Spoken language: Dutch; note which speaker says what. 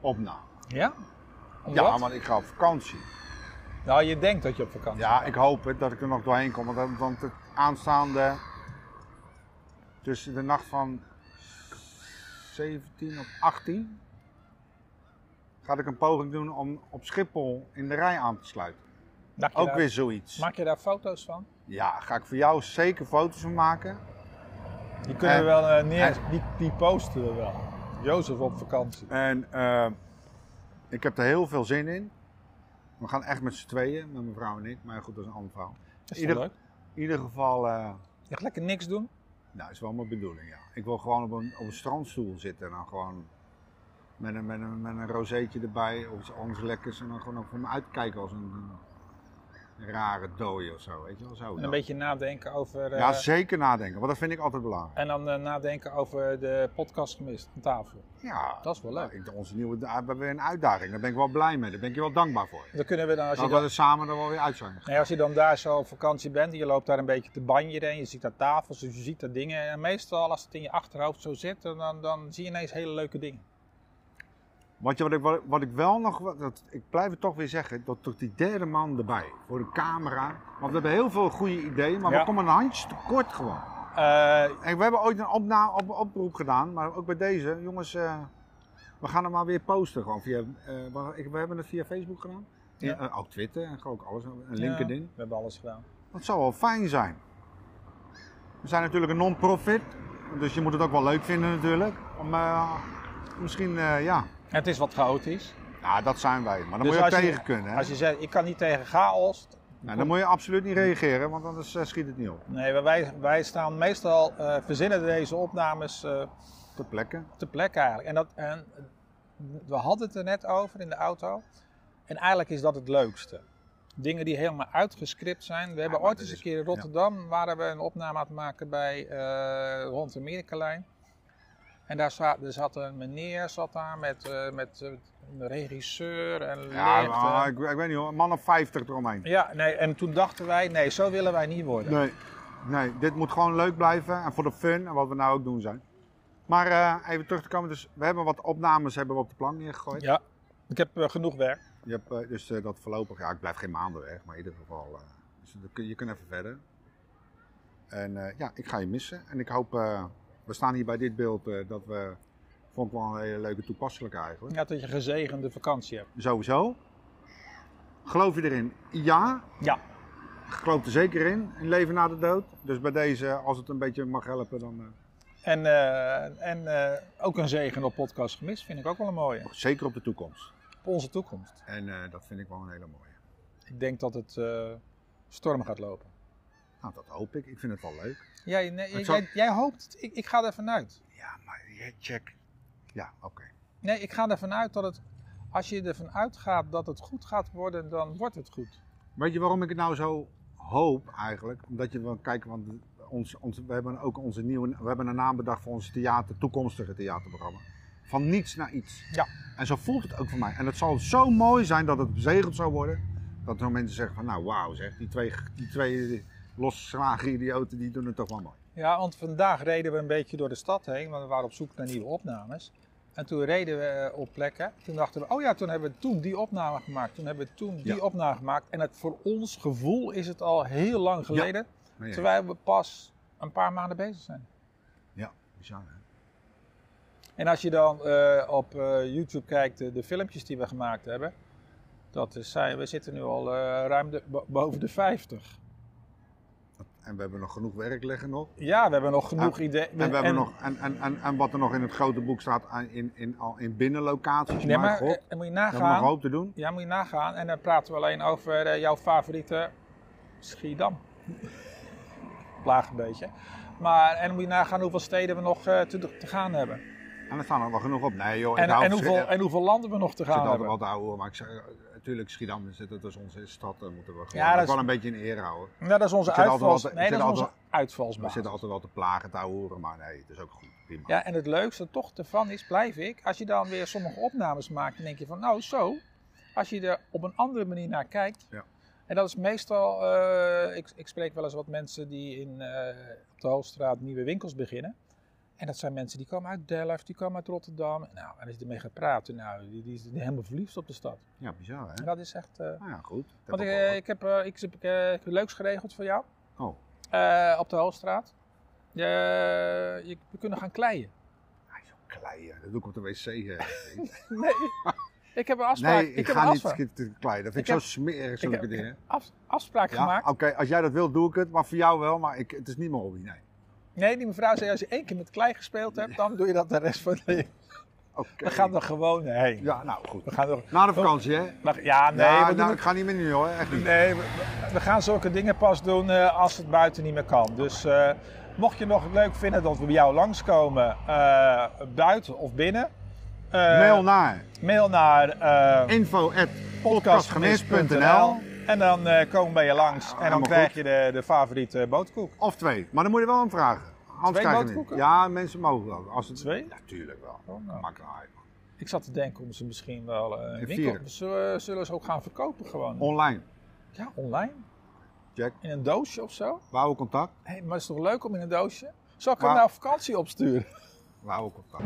Speaker 1: opnam.
Speaker 2: Ja? Omdat?
Speaker 1: Ja, want ik ga op vakantie.
Speaker 2: Nou, je denkt dat je op vakantie
Speaker 1: Ja, ik hoop het, dat ik er nog doorheen kom. Want, dat- want het aanstaande. tussen de nacht van 17 op 18. ga ik een poging doen om op Schiphol in de rij aan te sluiten.
Speaker 2: Maak je
Speaker 1: Ook
Speaker 2: daar-
Speaker 1: weer zoiets.
Speaker 2: Maak je daar foto's van?
Speaker 1: Ja, ga ik voor jou zeker foto's van maken.
Speaker 2: Die kunnen we
Speaker 1: Eh,
Speaker 2: wel eh, neer.
Speaker 1: eh.
Speaker 2: die, die posten we wel. Jozef op vakantie.
Speaker 1: En eh, ik heb er heel veel zin in. We gaan echt met z'n tweeën, met mijn vrouw en ik. Maar goed, dat is een ander verhaal.
Speaker 2: Dat is toch
Speaker 1: Ieder-
Speaker 2: leuk?
Speaker 1: In ieder geval, eh,
Speaker 2: Je gaat lekker niks doen.
Speaker 1: nou, is wel mijn bedoeling, ja. Ik wil gewoon op een, op een strandstoel zitten en dan gewoon met een, met een, met een rozeetje erbij of iets anders lekkers. En dan gewoon ook voor me uitkijken als een, een rare dooi of zo, weet je wel. Zo
Speaker 2: En een
Speaker 1: dan.
Speaker 2: beetje nadenken over. eh,
Speaker 1: Ja, zeker nadenken, want dat vind ik altijd belangrijk.
Speaker 2: en dan eh, nadenken over de podcast gemist aan tafel.
Speaker 1: Ja,
Speaker 2: Dat is wel leuk.
Speaker 1: nou, ik- onze nieuwe, we hebben weer een uitdaging. Daar ben ik wel blij mee, daar ben ik je wel dankbaar voor.
Speaker 2: Dan kunnen we dan, als je,
Speaker 1: Ook wel
Speaker 2: dan,
Speaker 1: eens samen er wel weer uit zijn.
Speaker 2: nee, als je dan daar zo op vakantie bent en je loopt daar een beetje te banjeren en je ziet daar tafels, dus je ziet daar dingen. En meestal als het in je achterhoofd zo zit, dan- dan, dan zie je ineens hele leuke dingen.
Speaker 1: Wat, je- wat, ik, wat, wat ik wel nog, wat- dat, ik blijf het toch weer zeggen, dat toch die derde man erbij, voor de camera. Want we hebben heel veel goede ideeën, maar
Speaker 2: Ja.
Speaker 1: we komen een handje tekort gewoon.
Speaker 2: Eh,
Speaker 1: En we hebben ooit een opna, op, oproep gedaan, maar ook bij deze, jongens, eh, we gaan hem maar weer posten gewoon. Via, eh, wa- ik- we hebben het via Facebook gedaan,
Speaker 2: Ja.
Speaker 1: Eh, eh, ook Twitter en gewoon ook alles, eh, en LinkedIn.
Speaker 2: ja, we hebben alles gedaan.
Speaker 1: Dat zou wel fijn zijn. We zijn natuurlijk een non-profit, dus je moet het ook wel leuk vinden natuurlijk. Om, eh, misschien, eh, ja.
Speaker 2: Het is wat chaotisch.
Speaker 1: Ja, dat zijn wij. Maar dan moet
Speaker 2: Dus
Speaker 1: je ook
Speaker 2: als je-
Speaker 1: tegen kunnen. Hè?
Speaker 2: Als je zegt, ik kan niet tegen chaos.
Speaker 1: Nou, dan moet je absoluut niet reageren, want anders eh, schiet het niet op.
Speaker 2: Nee, maar wij, wij staan meestal, eh, verzinnen deze opnames eh
Speaker 1: Ter plekke.
Speaker 2: ter plekke eigenlijk. En, dat, en we hadden het er net over in de auto. En eigenlijk is dat het leukste. Dingen die helemaal uitgescript zijn. We hebben
Speaker 1: maar
Speaker 2: ooit
Speaker 1: dat
Speaker 2: eens een
Speaker 1: is-
Speaker 2: keer in Rotterdam, waren we een opname aan het maken bij eh rond de Amerikalijn. En daar zat, er zat een meneer zat daar met, eh, met eh, een regisseur en
Speaker 1: Ja,
Speaker 2: licht.
Speaker 1: maar,
Speaker 2: en-
Speaker 1: ik, ik weet niet hoor. Een man of 50 eromheen.
Speaker 2: ja nee, en toen dachten wij, nee, zo willen wij niet worden.
Speaker 1: Nee. nee, dit moet gewoon leuk blijven. En voor de fun en wat we nou ook doen zijn. Maar eh, even terug te komen. Dus we hebben wat opnames hebben we op de plank neergegooid.
Speaker 2: Ja, ik heb eh, genoeg werk.
Speaker 1: Je hebt, eh, dus eh, dat voorlopig, ja, ik blijf geen maanden weg, maar in ieder geval. eh, dus dan kun- je kunt even verder. En eh, ja, ik ga je missen. En ik hoop, eh, we staan hier bij dit beeld, eh, dat we. Vond ik wel een hele leuke toepasselijke eigenlijk.
Speaker 2: Ja, dat je gezegende vakantie hebt.
Speaker 1: Sowieso. Geloof je erin? Ja.
Speaker 2: Ja.
Speaker 1: Ik geloof er zeker in, in leven na de dood. Dus bij deze, als het een beetje mag helpen, dan eh,
Speaker 2: En, eh, en eh, ook een zegen op podcast gemist vind ik ook wel een mooie.
Speaker 1: zeker op de toekomst.
Speaker 2: Op onze toekomst.
Speaker 1: En eh, dat vind ik wel een hele mooie.
Speaker 2: Ik denk dat het eh, storm gaat lopen.
Speaker 1: Nou, dat hoop ik. Ik vind het wel leuk.
Speaker 2: Jij, nee,
Speaker 1: Het
Speaker 2: jij,
Speaker 1: zal-
Speaker 2: jij hoopt, het. ik, ik ga er vanuit.
Speaker 1: Ja, maar je check. Ja, oké.
Speaker 2: Nee, ik ga er vanuit dat het, als je er vanuit gaat dat het goed gaat worden, dan wordt het goed.
Speaker 1: Weet je waarom ik het nou zo hoop eigenlijk? Omdat je wel kijkt, want ons, ons, we hebben ook onze nieuwe, we hebben een naam bedacht voor ons theater, toekomstige theaterprogramma. Van niets naar iets.
Speaker 2: Ja.
Speaker 1: En zo voelt het ook voor mij. En het zal zo mooi zijn dat het bezegeld zou worden. Dat er mensen zeggen van nou wauw zeg, die twee, die twee losgeslagen idioten die doen het toch wel mooi.
Speaker 2: Ja, want vandaag reden we een beetje door de stad heen, want we waren op zoek naar nieuwe opnames. En toen reden we eh, op plekken. Toen dachten we, oh ja, toen hebben we toen die opname gemaakt. Toen hebben we toen die
Speaker 1: Ja.
Speaker 2: opname gemaakt. En het, voor ons gevoel is het al heel lang geleden.
Speaker 1: Nee,
Speaker 2: Terwijl we pas een paar maanden bezig zijn.
Speaker 1: bizar, hè?
Speaker 2: En als je dan eh, op eh, YouTube kijkt, de, de filmpjes die we gemaakt hebben. Dat is, zijn, we zitten nu al eh, ruim de, bo- boven de 50.
Speaker 1: En we hebben nog genoeg werk liggen nog.
Speaker 2: Ja, we hebben nog genoeg ideeën.
Speaker 1: En, we hebben nog, en, en, en, en wat er nog in het grote boek staat aan- in, in, al in binnenlocaties.
Speaker 2: Nee,
Speaker 1: maar
Speaker 2: maar
Speaker 1: god,
Speaker 2: eh, dan moet je
Speaker 1: we hebben nog een
Speaker 2: nagaan.
Speaker 1: hoop te doen.
Speaker 2: Ja, moet je nagaan. En dan praten we alleen over eh, jouw favoriete Schiedam. Plaag een beetje. Maar, en dan moet je nagaan hoeveel steden we nog eh, te, te gaan hebben.
Speaker 1: En er staan er wel genoeg op. Nee joh, ik
Speaker 2: En,
Speaker 1: hou
Speaker 2: en,
Speaker 1: van
Speaker 2: hoeveel,
Speaker 1: Schiedam.
Speaker 2: en hoeveel landen we nog te
Speaker 1: Ik zit
Speaker 2: gaan
Speaker 1: altijd
Speaker 2: hebben.
Speaker 1: wel te ouwe, maar ik zeg, eh, natuurlijk Schiedam, is het, dat is onze stad, daar moeten we gewoon
Speaker 2: Ja, dat
Speaker 1: ook
Speaker 2: is-
Speaker 1: wel een beetje in ere houden.
Speaker 2: Ja, dat is onze
Speaker 1: Ik zit altijd wel
Speaker 2: uitvals...
Speaker 1: te- ik
Speaker 2: Nee,
Speaker 1: zit
Speaker 2: dat is
Speaker 1: altijd
Speaker 2: onze
Speaker 1: We
Speaker 2: uitvalsbasis.
Speaker 1: zitten altijd wel te plagen, te ouwen, maar nee, het is ook goed, prima.
Speaker 2: Ja, en het leukste toch ervan is, blijf ik, als je dan weer sommige opnames maakt, dan denk je van, nou zo, als je er op een andere manier naar kijkt.
Speaker 1: Ja.
Speaker 2: En dat is meestal, eh, ik, ik spreek wel eens wat mensen die in eh, op de Hoofdstraat nieuwe winkels beginnen. En dat zijn mensen die komen uit Delft, die komen uit Rotterdam. Nou, en als je ermee gaat praten, nou, die, die is helemaal verliefd op de stad.
Speaker 1: Ja, bizar hè?
Speaker 2: En dat is echt... eh,
Speaker 1: Nou ja, goed. Dat
Speaker 2: want ik,
Speaker 1: heb ik al
Speaker 2: eh, ik heb eh, ik, heb eh, ik heb leuks geregeld voor jou
Speaker 1: wat. Oh,
Speaker 2: eh, op de Hoogstraat. Eh, je, we kunnen gaan kleien.
Speaker 1: hij is ook kleien. Dat doe ik op de wc. eh.
Speaker 2: Nee, ik heb een afspraak.
Speaker 1: nee, ik,
Speaker 2: heb
Speaker 1: ga
Speaker 2: een
Speaker 1: niet
Speaker 2: afspraak.
Speaker 1: sk- kleien. Dat vind ik,
Speaker 2: Ik
Speaker 1: zo
Speaker 2: heb-
Speaker 1: smerig,
Speaker 2: Ik
Speaker 1: zulke
Speaker 2: heb
Speaker 1: dingen.
Speaker 2: af- afspraak
Speaker 1: Ja, ah.
Speaker 2: gemaakt.
Speaker 1: oké, als jij dat wilt, doe ik het. Maar voor jou wel, maar ik, het is niet mijn hobby, nee.
Speaker 2: Nee, die mevrouw zei, als je één keer met klei gespeeld hebt, dan doe je dat de rest van de
Speaker 1: Oké.
Speaker 2: We gaan er gewoon heen.
Speaker 1: Ja, nou goed.
Speaker 2: We gaan er...
Speaker 1: Na de vakantie, hè?
Speaker 2: Maar- Ja, nee,
Speaker 1: ja,
Speaker 2: we, doen
Speaker 1: nou,
Speaker 2: het-
Speaker 1: ik ga niet meer nu, hoor. Echt niet.
Speaker 2: nee we, we gaan zulke dingen pas doen eh, als het buiten niet meer kan. Dus eh, mocht je nog leuk vinden dat we bij jou langskomen, eh, buiten of binnen... eh,
Speaker 1: Mail naar
Speaker 2: mail naar eh,
Speaker 1: info.podcastgemis.nl
Speaker 2: en dan eh, komen we bij je langs.
Speaker 1: Ja,
Speaker 2: en dan
Speaker 1: helemaal
Speaker 2: krijg
Speaker 1: goed.
Speaker 2: je de, de favoriete boterkoek.
Speaker 1: Of twee. Maar dan moet je wel aan vragen. Anders
Speaker 2: Twee
Speaker 1: krijg je hem
Speaker 2: boterkoeken?
Speaker 1: niet. Ja, mensen mogen ook. Als het...
Speaker 2: Twee?
Speaker 1: Natuurlijk wel.
Speaker 2: Oh, nou.
Speaker 1: Maakt nou uit, man.
Speaker 2: Ik zat te denken om ze misschien wel eh, een
Speaker 1: En
Speaker 2: winkel...
Speaker 1: vieren.
Speaker 2: Zullen, zullen ze ook gaan verkopen gewoon?
Speaker 1: Online.
Speaker 2: Ja, online.
Speaker 1: Jack.
Speaker 2: In een doosje of zo?
Speaker 1: We houden contact.
Speaker 2: Hé, maar is het toch leuk om in een doosje? Zal ik hem
Speaker 1: Maar-
Speaker 2: nou op vakantie opsturen?
Speaker 1: We houden contact.